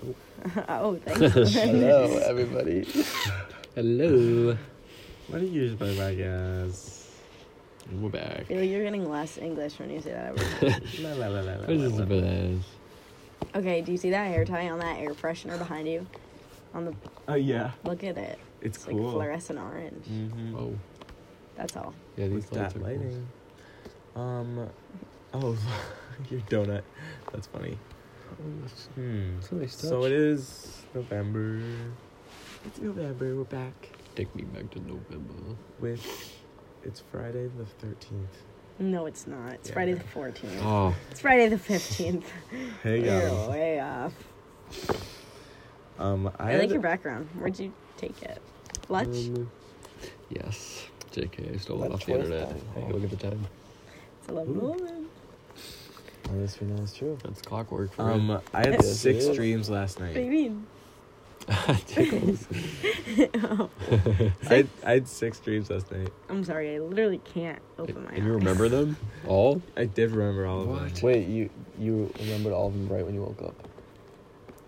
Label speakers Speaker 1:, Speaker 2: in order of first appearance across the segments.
Speaker 1: oh, thank you.
Speaker 2: Hello, everybody.
Speaker 3: Hello.
Speaker 2: What do you use by my guys?
Speaker 3: We're back.
Speaker 1: feel like you're getting less English when you say that every time.
Speaker 2: La, la, la, la, la,
Speaker 3: This is
Speaker 2: la,
Speaker 3: a
Speaker 2: la.
Speaker 3: bit
Speaker 1: Okay, do you see that hair tie on that air freshener behind you? On the
Speaker 2: Oh yeah,
Speaker 1: look at it.
Speaker 2: it's,
Speaker 1: It's like
Speaker 2: cool.
Speaker 1: fluorescent orange.
Speaker 2: mm-hmm.
Speaker 3: Oh,
Speaker 1: That's all.
Speaker 3: yeah, these
Speaker 2: With
Speaker 3: lights
Speaker 2: that
Speaker 3: are cool.
Speaker 2: lighting. Um, oh, your donut. That's funny. Hmm.
Speaker 3: It's a nice touch.
Speaker 2: So it is November. It's November. We're back
Speaker 3: Take me back to November.
Speaker 2: with. It's Friday the thirteenth.
Speaker 1: No, it's not. It's
Speaker 2: Yeah,
Speaker 1: Friday
Speaker 2: yeah.
Speaker 1: the 14th.
Speaker 3: Oh,
Speaker 1: It's Friday the 15th.
Speaker 2: Hey
Speaker 1: You're way off.
Speaker 2: Um, I,
Speaker 1: I like
Speaker 2: had,
Speaker 1: your background. Where'd you take it? Lunch?
Speaker 3: um, yes. JK, I stole it
Speaker 2: Lunch
Speaker 3: off the
Speaker 2: was
Speaker 3: internet.
Speaker 2: done.
Speaker 3: Hey, look at the time.
Speaker 1: It's a lovely
Speaker 2: Ooh.
Speaker 1: woman.
Speaker 2: Oh, this we know is true.
Speaker 3: That's clockwork for
Speaker 2: Um, I had
Speaker 1: Yes,
Speaker 3: it
Speaker 2: six
Speaker 3: is.
Speaker 2: dreams last
Speaker 1: What do you
Speaker 2: night.
Speaker 1: mean?
Speaker 3: you. Tickles.
Speaker 2: I had, I had six dreams last night.
Speaker 1: I'm sorry, I literally can't open my eyes.
Speaker 3: Do you remember them all?
Speaker 2: I did remember all of
Speaker 3: What?
Speaker 2: them.
Speaker 4: Wait, you you remembered all of them right when you woke up?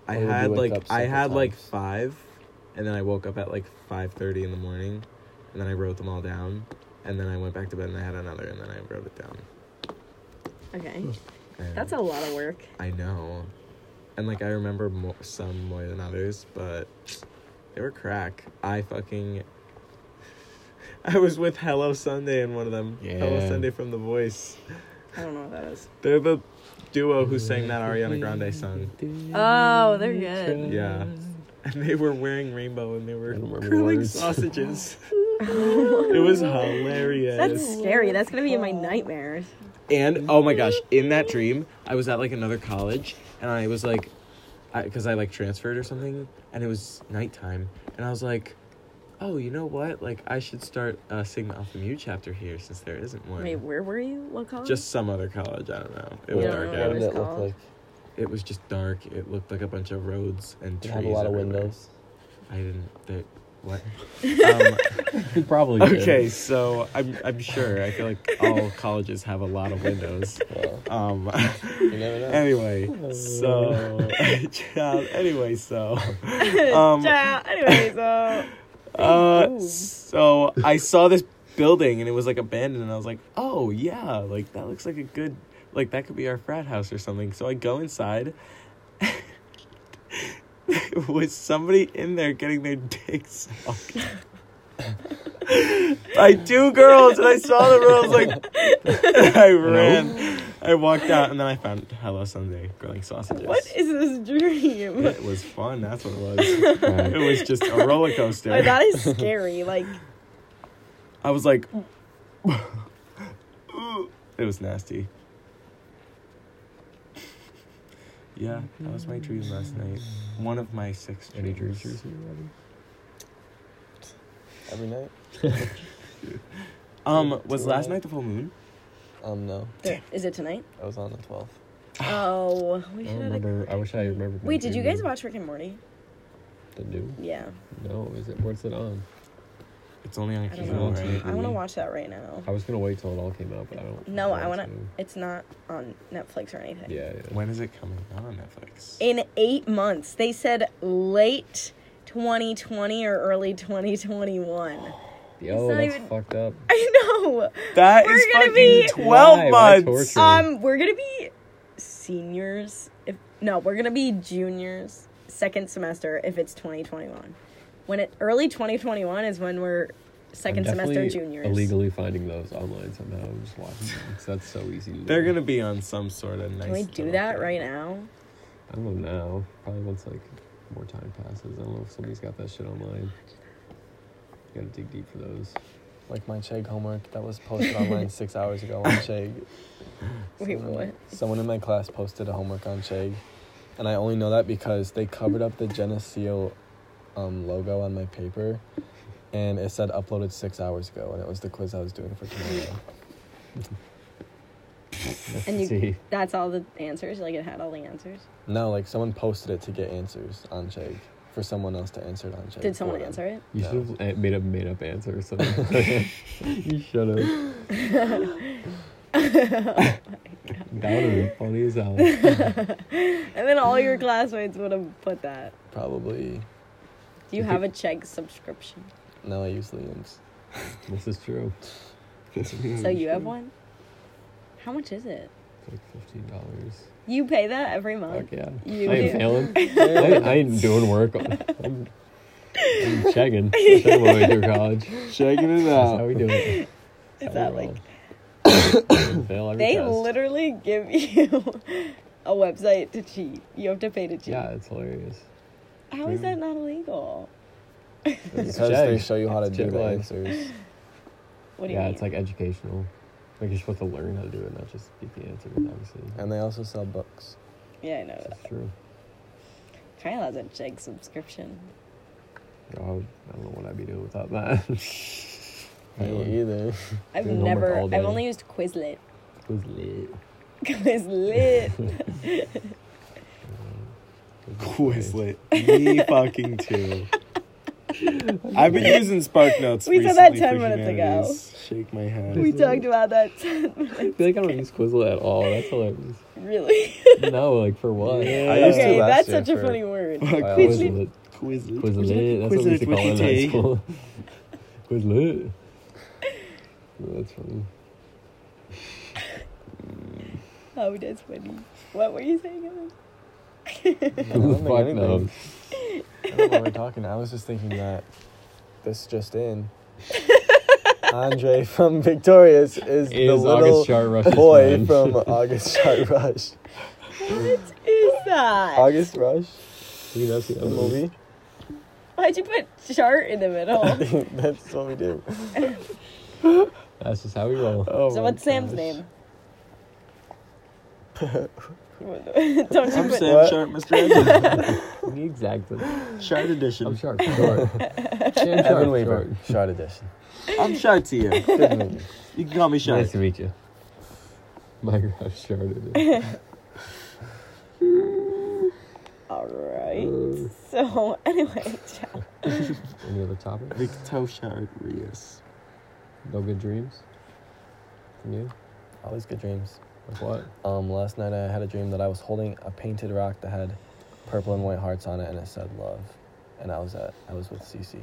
Speaker 2: I
Speaker 4: Or would you
Speaker 2: had
Speaker 4: wake
Speaker 2: like
Speaker 4: up
Speaker 2: I
Speaker 4: several
Speaker 2: had like
Speaker 4: times?
Speaker 2: five, and then I woke up at like five thirty in the morning, and then I wrote them all down, and then I went back to bed and I had another, and then I wrote it down.
Speaker 1: Okay.
Speaker 2: And
Speaker 1: That's a lot of work.
Speaker 2: I know, and like I remember mo some more than others, but they were crack. I fucking. I was with Hello Sunday in one of them. Hello
Speaker 3: Yeah.
Speaker 2: Sunday from The Voice.
Speaker 1: I don't know what that is.
Speaker 2: They're the duo who sang that Ariana Grande song.
Speaker 1: Oh, they're good.
Speaker 2: Yeah. And they were wearing rainbow and they were
Speaker 3: I don't remember
Speaker 2: curling
Speaker 3: words.
Speaker 2: sausages. it was hilarious.
Speaker 1: That's scary. That's gonna be in my nightmares.
Speaker 2: and oh my gosh, in that dream, I was at like another college and I was like, because I, like transferred or something, and it was nighttime, and I was like, oh, you know what? Like, I should start a Sigma Alpha Mu chapter here since there isn't one.
Speaker 1: Wait, where were you? What college?
Speaker 2: Just some other college, I don't know. It
Speaker 1: We
Speaker 2: was
Speaker 1: don't
Speaker 2: dark
Speaker 1: know
Speaker 2: out.
Speaker 4: What did
Speaker 1: it's
Speaker 4: it look
Speaker 1: called.
Speaker 4: like?
Speaker 2: It was just dark. It looked like a bunch of roads and
Speaker 4: Did
Speaker 2: trees.
Speaker 4: it have a lot of
Speaker 2: everywhere.
Speaker 4: windows?
Speaker 2: I didn't. They, what? um,
Speaker 3: Probably. did.
Speaker 2: okay, so I'm I'm sure. I feel like all colleges have a lot of windows.
Speaker 4: Well,
Speaker 2: Um,
Speaker 4: you never know.
Speaker 2: anyway, so child. Anyway, so um,
Speaker 1: Ciao. Anyway, so
Speaker 2: uh, so I saw this building and it was like abandoned, and I was like, oh yeah, like that looks like a good, like that could be our frat house or something. So I go inside. Was somebody in there getting their dicks sucked? By two girls, and I saw them, and I was like, I ran, I walked out, and then I found Hello Sunday grilling sausages.
Speaker 1: what is this dream?
Speaker 2: It was fun. That's what it was. it was just a roller coaster.
Speaker 1: Oh, that is scary. Like,
Speaker 2: I was like, it was nasty. Yeah, that was my dream last night. One of my six
Speaker 3: Any dreams
Speaker 2: dreams.
Speaker 3: you're having?
Speaker 4: Every night?
Speaker 2: Um, was last night the full moon?
Speaker 4: Um, no.
Speaker 1: is it tonight?
Speaker 4: I was on the 12th.
Speaker 1: Oh, we
Speaker 3: I
Speaker 1: should.
Speaker 3: don't
Speaker 1: Have a...
Speaker 3: remember. I wish I remembered. my
Speaker 1: Wait, did you
Speaker 3: dream.
Speaker 1: guys watch Rick and Morty?
Speaker 3: The new?
Speaker 1: Yeah,
Speaker 3: No, is it? What's it on?
Speaker 2: It's only on
Speaker 1: I don't
Speaker 2: cable,
Speaker 1: know.
Speaker 2: right?
Speaker 1: I want to watch that right now.
Speaker 3: I was gonna wait till it all came out, but I don't.
Speaker 1: No, I
Speaker 3: it's
Speaker 1: wanna-
Speaker 3: on.
Speaker 1: It's not on Netflix or anything.
Speaker 3: Yeah, yeah.
Speaker 2: When is it coming out on Netflix?
Speaker 1: In eight months, they said late 2020 or early 2021.
Speaker 3: Yo,
Speaker 1: not
Speaker 3: oh, that's
Speaker 1: even-
Speaker 3: fucked up.
Speaker 1: I know.
Speaker 2: That
Speaker 1: We're
Speaker 2: is
Speaker 1: gonna
Speaker 2: fucking
Speaker 1: be-
Speaker 3: Why?
Speaker 2: twelve
Speaker 3: Why
Speaker 2: months.
Speaker 3: torture?
Speaker 1: Um, we're gonna be seniors. If no, we're gonna be juniors second semester if it's 2021. When it early 2021 is when we're second
Speaker 3: I'm
Speaker 1: semester
Speaker 3: definitely
Speaker 1: juniors.
Speaker 3: Illegally finding those online somehow and just watching them 'cause that's so easy. To do.
Speaker 2: They're gonna be on some sort of nice.
Speaker 1: Can we do
Speaker 2: little
Speaker 1: that
Speaker 2: thing.
Speaker 1: right now?
Speaker 3: I don't know. now. Probably once like more time passes. I don't know if somebody's got that shit online. You gotta dig deep for those.
Speaker 4: Like my Chegg homework that was posted online six hours ago on Chegg.
Speaker 1: Wait,
Speaker 4: Someone-
Speaker 1: what?
Speaker 4: Someone in my class posted a homework on Chegg. And I only know that because they covered up the Geneseo um, logo on my paper. And it said uploaded six hours ago. And it was the quiz I was doing for tomorrow.
Speaker 1: And you-
Speaker 3: See,
Speaker 1: That's all the answers. Like it had all the answers.
Speaker 4: No, like someone posted it to get answers on Chegg for someone else to answer it on Chegg.
Speaker 1: Did someone answer it?
Speaker 3: you
Speaker 4: No.
Speaker 3: should have uh, made a made up answer or something. you should have. That would have been funny as hell.
Speaker 1: And then all your classmates would have put that.
Speaker 4: Probably.
Speaker 1: Do you have a Chegg subscription?
Speaker 4: No, I use Liam's.
Speaker 3: this is true.
Speaker 1: So you
Speaker 2: Mm-hmm.
Speaker 1: have one? How much is it?
Speaker 3: It's like fifteen dollars.
Speaker 1: You pay that every month?
Speaker 3: Fuck yeah.
Speaker 1: You
Speaker 3: I ain't
Speaker 1: do.
Speaker 3: failing. I ain't, I ain't doing work. I'm, I'm checking. I'm away through college. That's
Speaker 4: Checking it
Speaker 3: how we do it.
Speaker 1: Oh. Is that like
Speaker 3: fail every
Speaker 1: they
Speaker 3: test.
Speaker 1: literally give you a website to cheat. You have to pay to cheat.
Speaker 3: Yeah, it's hilarious.
Speaker 1: How is that not illegal?
Speaker 4: Because
Speaker 3: Chegg.
Speaker 4: they show you how to
Speaker 3: It's
Speaker 4: do
Speaker 3: Chegg
Speaker 4: the
Speaker 3: life.
Speaker 4: answers.
Speaker 1: What do you
Speaker 3: yeah,
Speaker 1: mean?
Speaker 3: it's like educational. Like you're supposed to learn how to do it, not just beat the answer. Obviously,
Speaker 4: And they also sell books.
Speaker 1: yeah, I know that.
Speaker 3: that's true.
Speaker 1: Kyle has a Chegg subscription.
Speaker 3: Yo, I, would, I don't know what I'd be doing without that.
Speaker 4: Me either.
Speaker 1: I've
Speaker 3: Doing homework
Speaker 1: never.
Speaker 3: all
Speaker 1: I've
Speaker 3: day.
Speaker 1: only used Quizlet.
Speaker 3: It was lit.
Speaker 1: Quizlet.
Speaker 2: Quizlet. Me fucking too. I've been using SparkNotes.
Speaker 1: We said that
Speaker 2: recently
Speaker 1: 10
Speaker 2: for
Speaker 1: minutes ago.
Speaker 2: humanities. Shake my head.
Speaker 1: we talked about that.
Speaker 3: I feel like I don't use Quizlet at all. That's hilarious.
Speaker 1: really?
Speaker 3: no, like for what?
Speaker 2: Yeah.
Speaker 4: I used to
Speaker 1: okay,
Speaker 4: last
Speaker 1: that's
Speaker 4: year
Speaker 1: such a
Speaker 4: for-
Speaker 1: funny word.
Speaker 2: Fuck
Speaker 4: I always
Speaker 2: Quizlet.
Speaker 3: Quizlet.
Speaker 2: Quizlet.
Speaker 3: Quizlet. That's what we used to
Speaker 2: with
Speaker 3: call it in
Speaker 2: a
Speaker 3: high
Speaker 2: T.
Speaker 3: school. Quizlet. Oh, that's funny.
Speaker 1: Oh, that's funny. What were you saying? Evan?
Speaker 4: I don't
Speaker 3: Fuck
Speaker 4: think
Speaker 3: no.
Speaker 4: anything- I don't know what we're talking. I was just thinking that this just in. Andre from Victorious is, the
Speaker 3: Is
Speaker 4: little
Speaker 3: August Char Rush's
Speaker 4: boy
Speaker 3: friend?
Speaker 4: from August Char Rush.
Speaker 1: What is that?
Speaker 4: August Rush,
Speaker 3: See, that's the
Speaker 4: the
Speaker 3: other
Speaker 4: movie.
Speaker 1: Why'd you put chart in the middle?
Speaker 4: That's what we do.
Speaker 3: That's just how we roll.
Speaker 4: Oh
Speaker 1: so
Speaker 4: my
Speaker 1: what's Sam's
Speaker 4: gosh.
Speaker 1: name? Don't you
Speaker 2: I'm
Speaker 1: put
Speaker 2: Sam
Speaker 4: What?
Speaker 2: Sharp, Mr. Edwin.
Speaker 3: exactly.
Speaker 2: Shard
Speaker 3: I'm
Speaker 2: edition.
Speaker 3: sharp. Short. Sam
Speaker 4: Evan
Speaker 3: Sharp,
Speaker 4: Weaver, Shard Edition.
Speaker 2: I'm Shard to you.
Speaker 4: Good movie.
Speaker 2: You can call me
Speaker 3: short.
Speaker 2: Shard.
Speaker 3: Nice to meet you. Minecraft sharded it.
Speaker 1: All right. So anyway, Chad.
Speaker 3: Uh, Any other topics?
Speaker 2: Victor Shard Rios.
Speaker 3: No good dreams? From you?
Speaker 4: Always good dreams.
Speaker 3: Like what?
Speaker 4: Um, last night I had a dream that I was holding a painted rock that had purple and white hearts on it, and it said love. And I was at I was with Cece,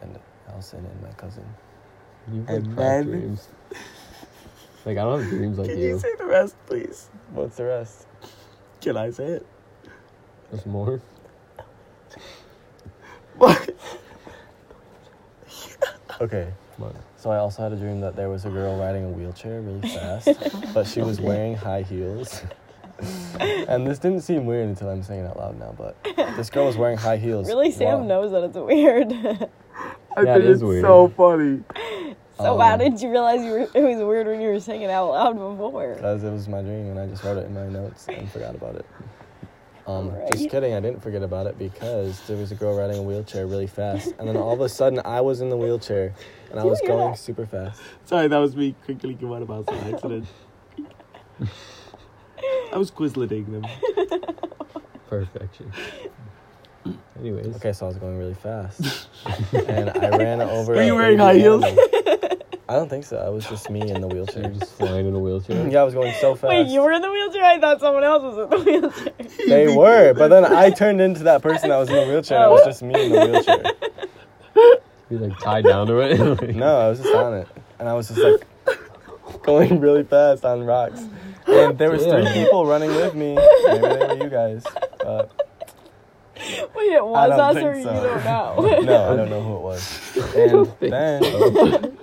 Speaker 4: and Allison and my cousin.
Speaker 3: You've
Speaker 2: And
Speaker 3: had crap
Speaker 2: then-
Speaker 3: dreams. Like I don't have dreams like
Speaker 2: Can
Speaker 3: you.
Speaker 2: you say the rest, please?
Speaker 4: What's the rest?
Speaker 2: Can I say it?
Speaker 3: There's more.
Speaker 2: What?
Speaker 4: Okay.
Speaker 3: Come on.
Speaker 4: So I also had a dream that there was a girl riding a wheelchair really fast, but she was wearing high heels. and this didn't seem weird until I'm saying it out loud now, but this girl was wearing high heels.
Speaker 1: really, Sam
Speaker 4: Wow.
Speaker 1: knows that it's weird.
Speaker 2: I
Speaker 3: Yeah, it
Speaker 2: think
Speaker 3: is
Speaker 2: it's
Speaker 3: weird.
Speaker 2: so funny.
Speaker 1: so how
Speaker 4: Um,
Speaker 1: did you realize you were, it was weird when you were saying it out loud before?
Speaker 4: Because it was my dream and I just wrote it in my notes and forgot about it. Um, Just
Speaker 1: Alright.
Speaker 4: kidding, I didn't forget about it because there was a girl riding a wheelchair really fast, and then all of a sudden I was in the wheelchair and
Speaker 1: Did
Speaker 4: I
Speaker 1: you
Speaker 4: was
Speaker 1: hear
Speaker 4: going
Speaker 1: that?
Speaker 4: super fast.
Speaker 2: Sorry, that was me quickly coming out of house by accident. I was quizleting them.
Speaker 3: Perfection. Anyways.
Speaker 4: Okay, so I was going really fast, and I ran over.
Speaker 2: Were
Speaker 4: a
Speaker 2: you wearing
Speaker 4: baby
Speaker 2: high heels?
Speaker 4: animal. I don't think so. I was just me
Speaker 3: So
Speaker 4: in the
Speaker 3: you're
Speaker 4: wheelchair.
Speaker 3: just flying in a wheelchair.
Speaker 4: yeah, I was going so fast.
Speaker 1: Wait, you were in the wheelchair. I thought someone else was in the wheelchair.
Speaker 4: They were, but then I turned into that person that was in the wheelchair. and It was
Speaker 1: Oh.
Speaker 4: just me in the wheelchair.
Speaker 3: You're like tied down to it. Like,
Speaker 4: No, I was just on it, and I was just like going really fast on rocks. And there was
Speaker 3: Damn.
Speaker 4: three people running with me. Maybe they were you guys. But
Speaker 1: Wait, it
Speaker 4: I
Speaker 1: was
Speaker 4: don't
Speaker 1: us,
Speaker 4: think
Speaker 1: or you
Speaker 4: so.
Speaker 1: don't know.
Speaker 4: No, I don't know who it was. And then,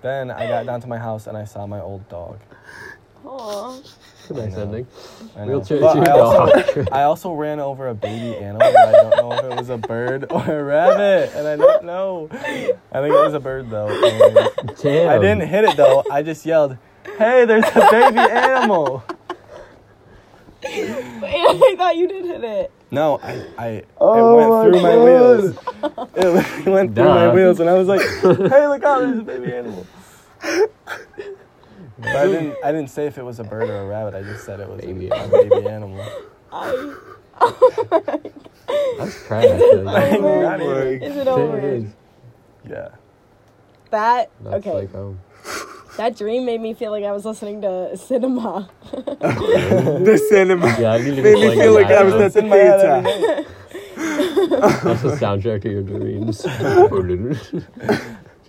Speaker 4: then I got down to my house and I saw my old dog.
Speaker 1: Aw.
Speaker 3: That's a nice
Speaker 4: I know.
Speaker 3: ending.
Speaker 4: I know.
Speaker 3: Wheelchair
Speaker 4: But
Speaker 3: to your
Speaker 4: uh, I also,
Speaker 3: dog.
Speaker 4: I also ran over a baby animal. and I don't know if it was a bird or a rabbit, and I don't know. I think it was a bird though. and-
Speaker 3: Damn.
Speaker 4: I didn't hit it though. I just yelled, "Hey, there's a baby animal!"
Speaker 1: Wait, I thought you did hit it.
Speaker 4: No, I, I
Speaker 2: Oh
Speaker 4: it went through
Speaker 2: my
Speaker 4: my wheels. It went through my
Speaker 3: Nah.
Speaker 4: wheels, and I was like, "Hey, look out! There's a baby animal." But I didn't. I didn't say if it was a bird or a rabbit. I just said it was
Speaker 3: Baby
Speaker 4: a, a baby animal.
Speaker 1: I,
Speaker 3: That's crap. actually.
Speaker 4: I did
Speaker 1: Oh
Speaker 4: not even-
Speaker 1: is it
Speaker 3: Damn,
Speaker 1: over?
Speaker 3: it is.
Speaker 4: Yeah.
Speaker 1: That
Speaker 3: That's
Speaker 1: okay.
Speaker 3: like oh.
Speaker 1: That dream made me feel like I was listening to cinema.
Speaker 2: the cinema
Speaker 3: Yeah, I'd be
Speaker 2: made me
Speaker 3: playing
Speaker 2: feel
Speaker 3: it
Speaker 2: like I was
Speaker 3: live.
Speaker 2: at the Oh,
Speaker 4: in my head every
Speaker 2: theater.
Speaker 3: That's the soundtrack of your dreams.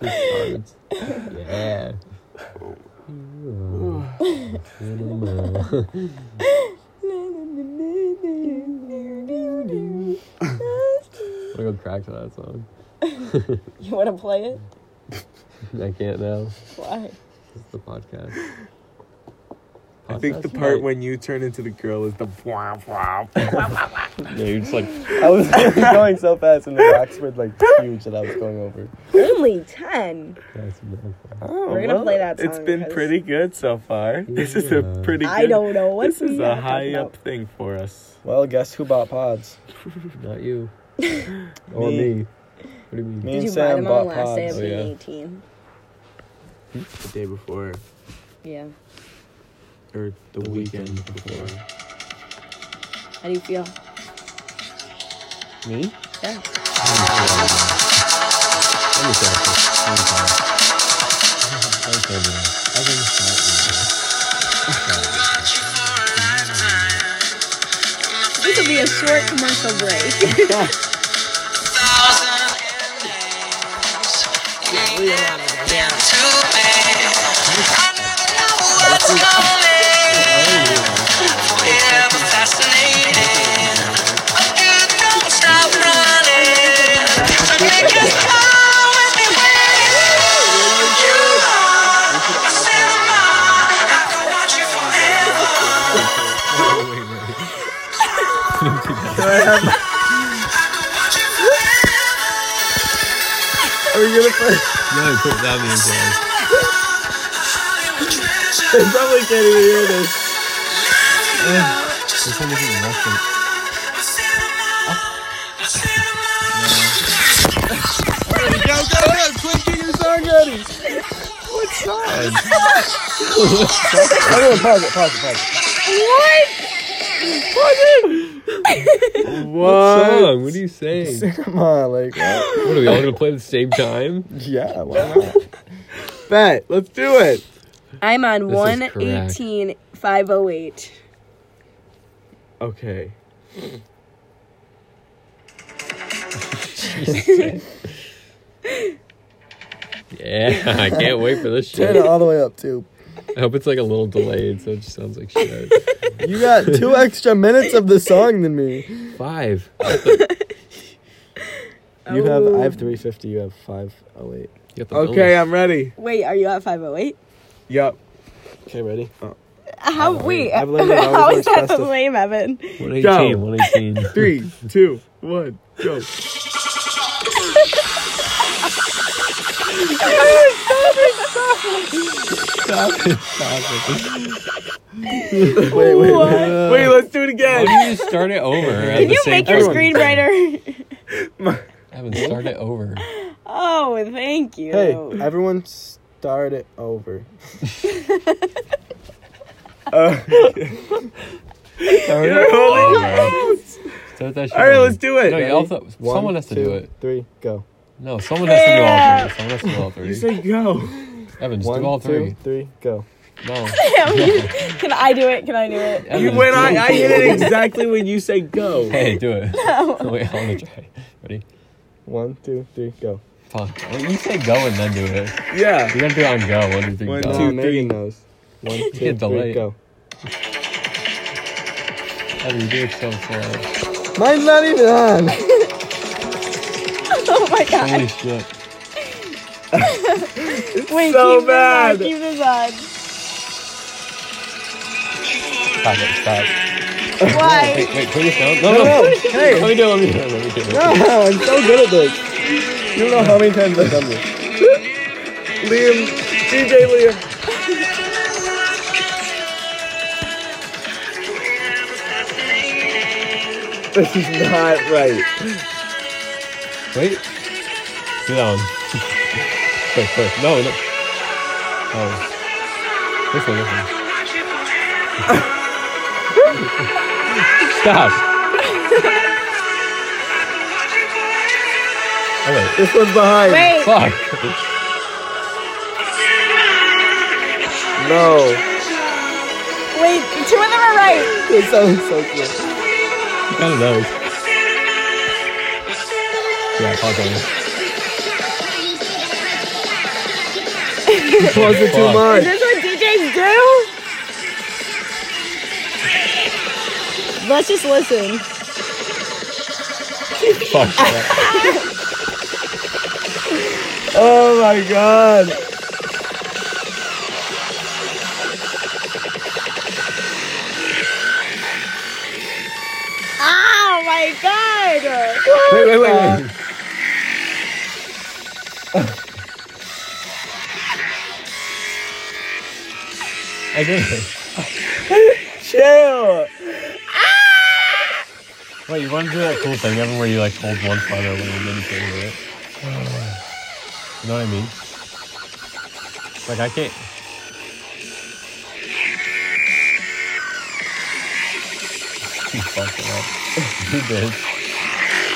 Speaker 3: Just cards. Yeah. Cinema.
Speaker 1: you
Speaker 3: I'm gonna go crack to that song.
Speaker 1: want to play it?
Speaker 3: I can't now.
Speaker 1: Why?
Speaker 3: It's the podcast.
Speaker 2: I think the
Speaker 3: Podcast
Speaker 2: part
Speaker 3: night.
Speaker 2: when you turn into the girl is the wow wow.
Speaker 3: yeah, you're just like
Speaker 4: I was going so fast, and the rocks were like huge that I was going over.
Speaker 1: Only 10.
Speaker 3: that's beautiful.
Speaker 2: Oh,
Speaker 1: We're gonna play that
Speaker 2: It's
Speaker 1: song,
Speaker 2: been
Speaker 1: 'cause-
Speaker 2: pretty good so far. This is a
Speaker 3: Yeah.
Speaker 2: pretty. Good,
Speaker 1: I don't know what
Speaker 2: This is
Speaker 1: we
Speaker 2: a
Speaker 1: are
Speaker 2: high
Speaker 1: talking
Speaker 2: up
Speaker 1: about.
Speaker 2: thing for us.
Speaker 4: Well, guess who bought pods?
Speaker 3: Not you. or
Speaker 4: Me.
Speaker 3: me. What do you mean?
Speaker 4: Me.
Speaker 1: Did
Speaker 4: and
Speaker 1: you buy
Speaker 4: Sam
Speaker 1: them on
Speaker 4: bought
Speaker 1: the last day of
Speaker 4: pods.
Speaker 3: Oh,
Speaker 1: being
Speaker 3: yeah.
Speaker 1: 18?
Speaker 2: The day before
Speaker 1: Yeah.
Speaker 2: or the,
Speaker 3: The
Speaker 2: weekend,
Speaker 3: weekend
Speaker 2: before.
Speaker 1: How do you feel?
Speaker 4: Me?
Speaker 1: Yeah.
Speaker 3: Let me start
Speaker 1: This will be a short commercial break.
Speaker 3: No, put that in
Speaker 2: They probably can't even hear this.
Speaker 3: This one isn't nothing.
Speaker 4: Everyone, pause it, pause it, pause
Speaker 3: What song? What are you saying?
Speaker 4: it. Come on, uh, like, what?
Speaker 3: What are we all gonna play at the same time?
Speaker 4: yeah, why not?
Speaker 2: Bet. Let's do it.
Speaker 1: I'm on
Speaker 3: This is correct.
Speaker 1: 118 508.
Speaker 2: Okay.
Speaker 3: Yeah, I can't wait for this
Speaker 4: Turn
Speaker 3: shit.
Speaker 4: it all the way up too.
Speaker 3: I hope it's like a little delayed, so it just sounds like shit.
Speaker 4: You got two extra minutes of the song than me.
Speaker 3: Five.
Speaker 4: You have,
Speaker 1: Oh.
Speaker 4: I have three fifty. You have five oh eight.
Speaker 3: You got the
Speaker 2: Okay,
Speaker 3: bonus.
Speaker 2: I'm ready.
Speaker 1: Wait, are you at 508?
Speaker 2: Yep.
Speaker 4: Okay, ready?
Speaker 1: How, wait,
Speaker 4: I've learned that
Speaker 1: how
Speaker 4: always
Speaker 1: is that
Speaker 4: works
Speaker 1: the
Speaker 4: best if-
Speaker 1: lame, Evan?
Speaker 3: 118, 118.
Speaker 2: Three, two, one, go.
Speaker 4: Wait, wait.
Speaker 1: What?
Speaker 2: Wait, let's do it
Speaker 3: Why
Speaker 2: again.
Speaker 3: don't you just start it over? at
Speaker 1: Can
Speaker 3: the
Speaker 1: you
Speaker 3: same
Speaker 1: make your
Speaker 3: time?
Speaker 1: screenwriter?
Speaker 3: Evan, start it over.
Speaker 1: Oh, thank you.
Speaker 4: Hey, everyone, start it over.
Speaker 3: Start
Speaker 2: You're holding your
Speaker 3: Start that shit
Speaker 2: All right,
Speaker 3: over.
Speaker 2: let's do it.
Speaker 3: No, you
Speaker 2: Ready?
Speaker 3: all th-
Speaker 4: One,
Speaker 3: someone has to do
Speaker 4: two,
Speaker 3: it.
Speaker 4: Three, go.
Speaker 3: No, someone has to do all three. Someone has to do all three.
Speaker 2: You say go.
Speaker 3: Evan, just
Speaker 4: One,
Speaker 3: do all
Speaker 4: two,
Speaker 3: three.
Speaker 4: three, go.
Speaker 3: No.
Speaker 1: Can I do it? Can I do it?
Speaker 3: Evan,
Speaker 2: You
Speaker 3: just
Speaker 2: when
Speaker 3: do
Speaker 2: I,
Speaker 3: it.
Speaker 2: I hit it exactly when you say go.
Speaker 3: Hey, do it. Wait, I'm gonna try. Ready?
Speaker 4: One, two, three, go.
Speaker 3: Fuck. Well, You say go and then do it.
Speaker 2: Yeah.
Speaker 3: You're gonna do it on go. One, two, three,
Speaker 2: One,
Speaker 3: go.
Speaker 4: Nah,
Speaker 2: two,
Speaker 4: Megan
Speaker 2: three.
Speaker 4: knows. One, two, three,
Speaker 3: get delayed.
Speaker 4: go.
Speaker 3: Evan, you do it so slow.
Speaker 4: Mine's not even on.
Speaker 1: Oh my god.
Speaker 3: Holy shit.
Speaker 1: Wait, keep
Speaker 2: so
Speaker 1: this on,
Speaker 2: bad.
Speaker 1: Keep this on.
Speaker 3: Stop it. Stop.
Speaker 1: Why?
Speaker 3: Wait, wait. Turn this down. No, no.
Speaker 4: hey,
Speaker 3: Let me do it. Let me do it. Let me do it.
Speaker 2: Oh,
Speaker 4: no, I'm so good at this. You don't know how many times I've done this.
Speaker 2: Liam, DJ Liam. This is not right.
Speaker 3: Wait. Do that one. quick, quick. No, no. Oh. This one, this one. Stop. oh, wait. Oh,
Speaker 4: This one's behind.
Speaker 1: Wait.
Speaker 3: Fuck.
Speaker 2: no.
Speaker 1: Wait, two of them are right.
Speaker 4: It sounds so cool.
Speaker 3: Kind of those. Yeah, pause on it. Pause it too much.
Speaker 1: Is this what DJs do? Let's just listen.
Speaker 3: Fuck. that.
Speaker 2: Oh my god.
Speaker 1: Oh my god!
Speaker 2: Wait, wait, wait, wait.
Speaker 3: I did it.
Speaker 2: Chill.
Speaker 3: Wait, you want to do that cool thing ever where you like hold one feather a little bit and can't hear it? You know what I mean? Like I can't. You fucked it up. You did.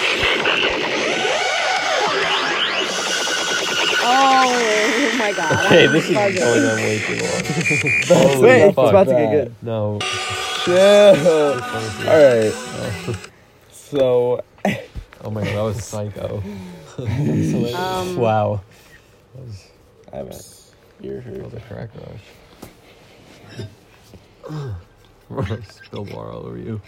Speaker 1: Oh my god.
Speaker 3: Okay, this is
Speaker 1: Fuck it.
Speaker 3: going on way too long. Holy
Speaker 2: Wait, it's
Speaker 3: fuck.
Speaker 2: about to get good.
Speaker 3: No.
Speaker 4: Chill. All right. So
Speaker 3: Oh my god, that was psycho. Um, wow.
Speaker 4: I haven't ear
Speaker 3: That
Speaker 4: heard.
Speaker 3: was a crack rush. We're gonna spill water all over you.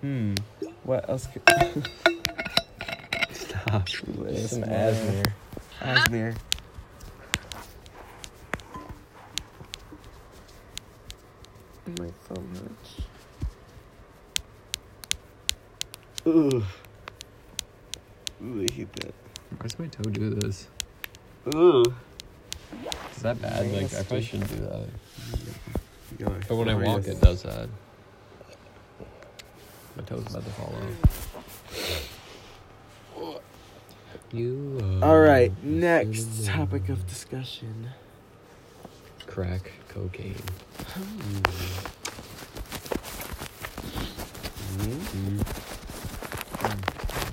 Speaker 2: Hmm.
Speaker 4: What else? Could,
Speaker 3: Stop.
Speaker 4: there's some asthma.
Speaker 2: Asmir. My phone hurts. Ugh. Ooh, I hate that.
Speaker 3: Why does my toe do this?
Speaker 2: Ugh.
Speaker 3: Is that bad? Like, I probably shouldn't do that.
Speaker 2: Yo,
Speaker 3: But when I
Speaker 2: feel
Speaker 3: walk,
Speaker 2: weird.
Speaker 3: it does that. My toe's about to fall off. You. Uh,
Speaker 2: All right, next topic of discussion.
Speaker 3: Crack cocaine. Mm-hmm. Oh,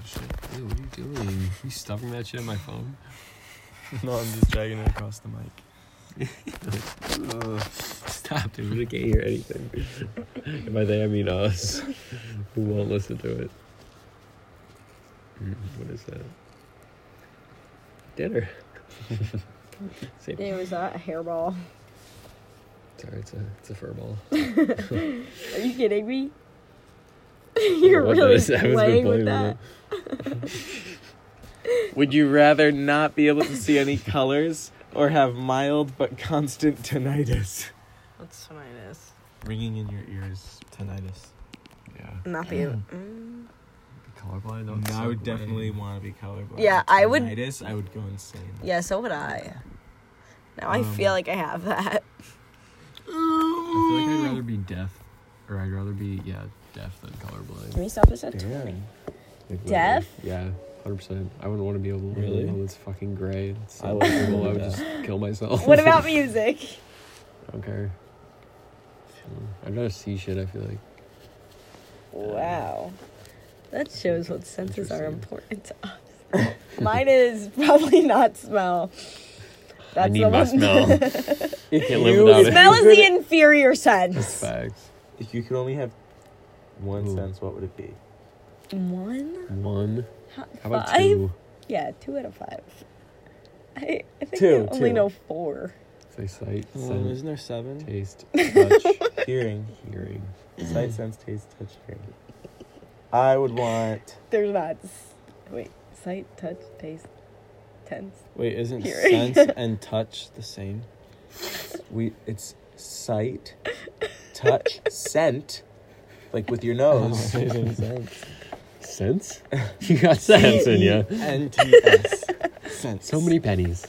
Speaker 3: shit. Ew, what are you doing? You stuffing that shit in my phone?
Speaker 4: No, I'm just dragging it across the mic.
Speaker 2: Ugh.
Speaker 3: Stop, dude. We can't hear anything. and by they, I mean us. Who won't listen to it. Mm, What is that? Dinner. Same.
Speaker 1: It was that a hairball.
Speaker 3: Sorry, it's a, it's a fur ball.
Speaker 1: Are you kidding me? You're
Speaker 3: What
Speaker 1: really
Speaker 3: is- I haven't been
Speaker 1: playing with
Speaker 3: playing with
Speaker 1: that.
Speaker 2: Would you rather not be able to see any colors or have mild but constant tinnitus?
Speaker 1: What's tinnitus?
Speaker 2: Ringing in your ears, tinnitus.
Speaker 3: Yeah.
Speaker 1: Not the. Mm.
Speaker 3: Colorblind?
Speaker 2: No, I would definitely want to be colorblind.
Speaker 1: Yeah, I would-
Speaker 2: Tinnitus, I would go insane.
Speaker 1: Yeah, so would I. Now I
Speaker 2: Um,
Speaker 1: feel like I have that.
Speaker 3: I feel like
Speaker 1: Mm.
Speaker 3: I'd rather be deaf, or I'd rather be, yeah, deaf than colorblind.
Speaker 1: we stop this at
Speaker 2: Damn.
Speaker 3: Like,
Speaker 1: Deaf?
Speaker 3: literally. Yeah, 100%. I wouldn't want to be able to
Speaker 4: Really?
Speaker 3: Well, it's fucking gray. It's
Speaker 4: I
Speaker 3: so
Speaker 4: would
Speaker 3: miserable, I
Speaker 4: do
Speaker 3: would
Speaker 4: that.
Speaker 3: just kill myself.
Speaker 1: What about music?
Speaker 3: I don't care. I'd rather see shit, I feel like.
Speaker 1: Wow. That shows what senses are
Speaker 3: Uh, Interesting.
Speaker 1: important to us. Mine is probably not smell. That's the one.
Speaker 3: I can't
Speaker 2: you-
Speaker 3: live without it.
Speaker 1: smell is the inferior sense.
Speaker 3: Facts.
Speaker 2: If you could only have one
Speaker 3: Ooh.
Speaker 2: sense, what would it be?
Speaker 1: One?
Speaker 3: One.
Speaker 1: How
Speaker 3: How about
Speaker 1: five?
Speaker 3: two?
Speaker 1: Yeah, two out of five. I, I think
Speaker 2: Two,
Speaker 1: I only
Speaker 2: two.
Speaker 1: know four.
Speaker 3: Say sight,
Speaker 4: Um,
Speaker 3: scent,
Speaker 4: isn't there seven?
Speaker 3: taste, touch,
Speaker 2: Hearing.
Speaker 3: hearing.
Speaker 2: Sight, sense, taste, touch, hearing. I would want.
Speaker 1: There's not. s- Wait, sight, touch, taste, tense.
Speaker 4: Wait, isn't
Speaker 1: Hearing.
Speaker 4: sense and touch the same?
Speaker 2: We it's sight, touch, scent, like with your
Speaker 3: Oh,
Speaker 2: nose.
Speaker 3: Sense? You got sense in ya.
Speaker 4: NTS. Sense.
Speaker 3: So many pennies.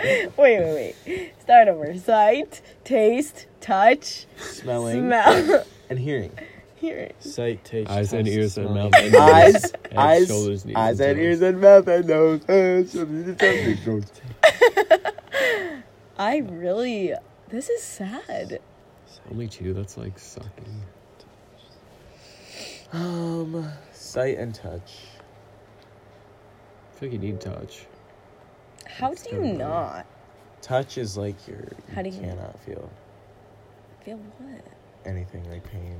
Speaker 1: Wait, wait, wait. Start over. Sight, taste, touch,
Speaker 2: Smelling
Speaker 1: smell,
Speaker 2: and hearing.
Speaker 1: hearing.
Speaker 4: Sight, taste,
Speaker 3: Eyes and
Speaker 4: touch,
Speaker 3: ears and
Speaker 4: smell.
Speaker 3: mouth and
Speaker 2: Eyes,
Speaker 3: Head,
Speaker 2: eyes,
Speaker 3: shoulders, knees,
Speaker 2: eyes,
Speaker 3: and
Speaker 2: and
Speaker 3: toes.
Speaker 2: ears, and mouth, and nose, and something, something, something.
Speaker 1: I really. This is sad.
Speaker 3: Only two, that's like sucking.
Speaker 2: Um, sight and touch.
Speaker 3: feel like you need touch.
Speaker 1: How do you not
Speaker 2: Touch is like your. You
Speaker 1: How do you-
Speaker 2: cannot feel
Speaker 1: feel what?
Speaker 2: anything like pain.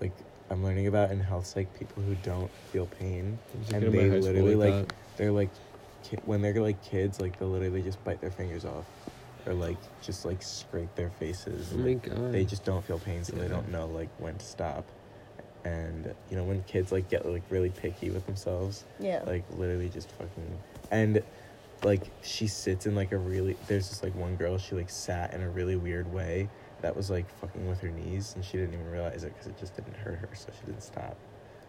Speaker 2: Like I'm learning about in health, like people who don't feel pain, and they literally like they're like, ki- when they're like kids, like they'll literally just bite their fingers off, or like just like scrape their faces.
Speaker 3: Oh
Speaker 2: and,
Speaker 3: my
Speaker 2: like,
Speaker 3: god.
Speaker 2: they just don't feel pain so
Speaker 3: Yeah.
Speaker 2: they don't know like when to stop and you know when kids like get like really picky with themselves
Speaker 1: Yeah.
Speaker 2: like literally just fucking and like she sits in like a really there's this like one girl she like sat in a really weird way that was like fucking with her knees and she didn't even realize it because it just didn't hurt her so she didn't stop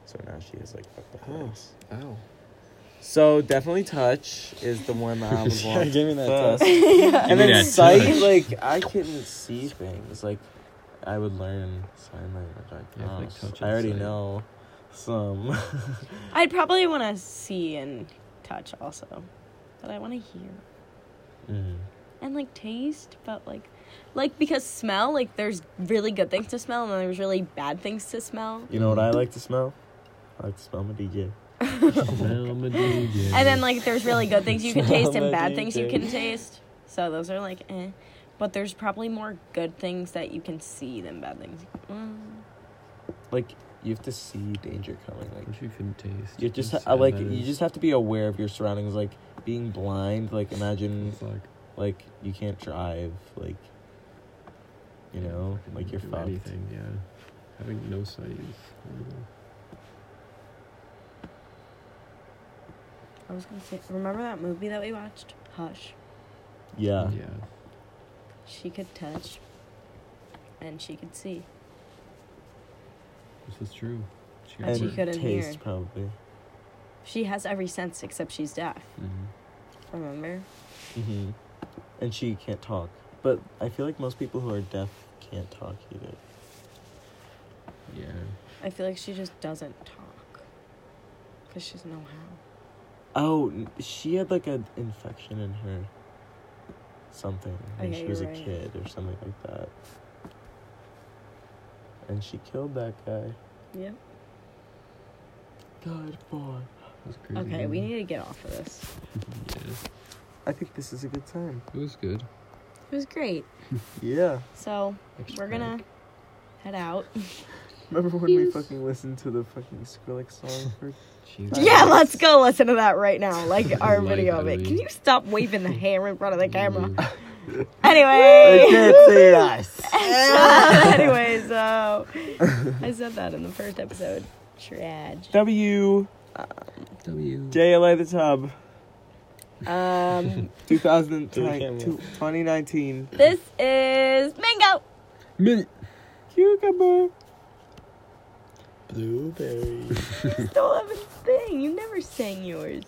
Speaker 2: so now she is like fucked up
Speaker 3: Oh.
Speaker 2: legs.
Speaker 3: Ow.
Speaker 2: so definitely touch is the one that i would
Speaker 4: Yeah,
Speaker 2: want
Speaker 4: give me that
Speaker 2: first.
Speaker 4: touch.
Speaker 3: Give
Speaker 2: And
Speaker 3: me
Speaker 2: then
Speaker 3: that
Speaker 2: sight,
Speaker 3: touch.
Speaker 2: like I couldn't see things. Like I would learn sign language. I
Speaker 3: Yeah, like
Speaker 2: guess.
Speaker 3: touch
Speaker 2: I
Speaker 3: and
Speaker 2: already
Speaker 3: sight.
Speaker 2: know some.
Speaker 1: I'd probably want to see and touch also, but I want to hear
Speaker 2: mm.
Speaker 1: and like taste, but like, like because smell, like there's really good things to smell and then there's really bad things to smell.
Speaker 2: You know what I like to smell? I like to smell my DJ. uh,
Speaker 3: Smell DJ.
Speaker 1: And then like there's really good things you can taste and
Speaker 4: Smell
Speaker 1: bad
Speaker 4: that
Speaker 1: things you
Speaker 4: DJ.
Speaker 1: can taste. So those are like eh. But there's probably more good things that you can see than bad things. Mm.
Speaker 2: Like you have to see danger coming. Like
Speaker 3: Which you couldn't taste.
Speaker 2: you just
Speaker 3: That's
Speaker 2: I like
Speaker 3: sad that
Speaker 2: you
Speaker 3: is.
Speaker 2: just have to be aware of your surroundings. Like being blind. Like imagine
Speaker 3: It's like
Speaker 2: like you can't drive. Like you know
Speaker 3: fucking
Speaker 2: like you're
Speaker 3: do
Speaker 2: fucked.
Speaker 3: Anything, yeah. Having no sight is horrible.
Speaker 1: I was gonna say, remember that movie that we watched? Hush.
Speaker 2: Yeah.
Speaker 3: Yeah.
Speaker 1: She could touch, and she could see.
Speaker 3: This is true. She
Speaker 1: And she
Speaker 2: And
Speaker 3: worked.
Speaker 1: couldn't hear.
Speaker 2: taste probably.
Speaker 1: She has every sense except she's deaf.
Speaker 3: Mhm.
Speaker 1: Remember?
Speaker 2: hmm And she can't talk. But I feel like most people who are deaf can't talk either.
Speaker 3: Yeah.
Speaker 1: I feel like she just doesn't talk. Because she doesn't know how.
Speaker 2: Oh, n- she had like an infection in her something when
Speaker 1: Okay,
Speaker 2: she was
Speaker 1: you're
Speaker 2: a
Speaker 1: right.
Speaker 2: kid or something like that. And she killed that guy.
Speaker 1: Yeah.
Speaker 2: God, boy.
Speaker 3: That's crazy.
Speaker 1: Okay, we
Speaker 3: man.
Speaker 1: need to get off of this.
Speaker 3: Yeah.
Speaker 2: I think this is a good time.
Speaker 3: It was good.
Speaker 1: It was great.
Speaker 2: Yeah.
Speaker 1: So, we're gonna head out.
Speaker 2: Remember when we fucking listened to the fucking Skrillex song for
Speaker 3: Jesus.
Speaker 1: Yeah, let's go listen to that right now. Like our
Speaker 3: Like
Speaker 1: video of
Speaker 3: that
Speaker 1: it.
Speaker 3: we-
Speaker 1: Can you stop waving the hammer in front of the camera?
Speaker 3: Mhm.
Speaker 2: I
Speaker 1: Anyway.
Speaker 2: can't see us.
Speaker 1: anyway, so I said that in the first episode. Trage.
Speaker 2: W
Speaker 3: W.
Speaker 2: J L A the tub.
Speaker 1: Um,
Speaker 2: 2019, 2019.
Speaker 1: this is Mango.
Speaker 3: Mint.
Speaker 2: Cucumber.
Speaker 4: Blueberry.
Speaker 1: Stole Evan's thing. You never sang yours.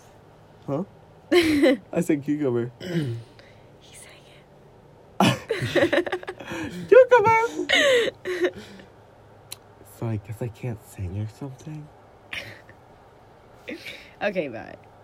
Speaker 2: Huh? I said cucumber.
Speaker 1: He sang it.
Speaker 2: Cucumber! so I guess I can't sing or something?
Speaker 1: Okay, bye.
Speaker 3: Uh,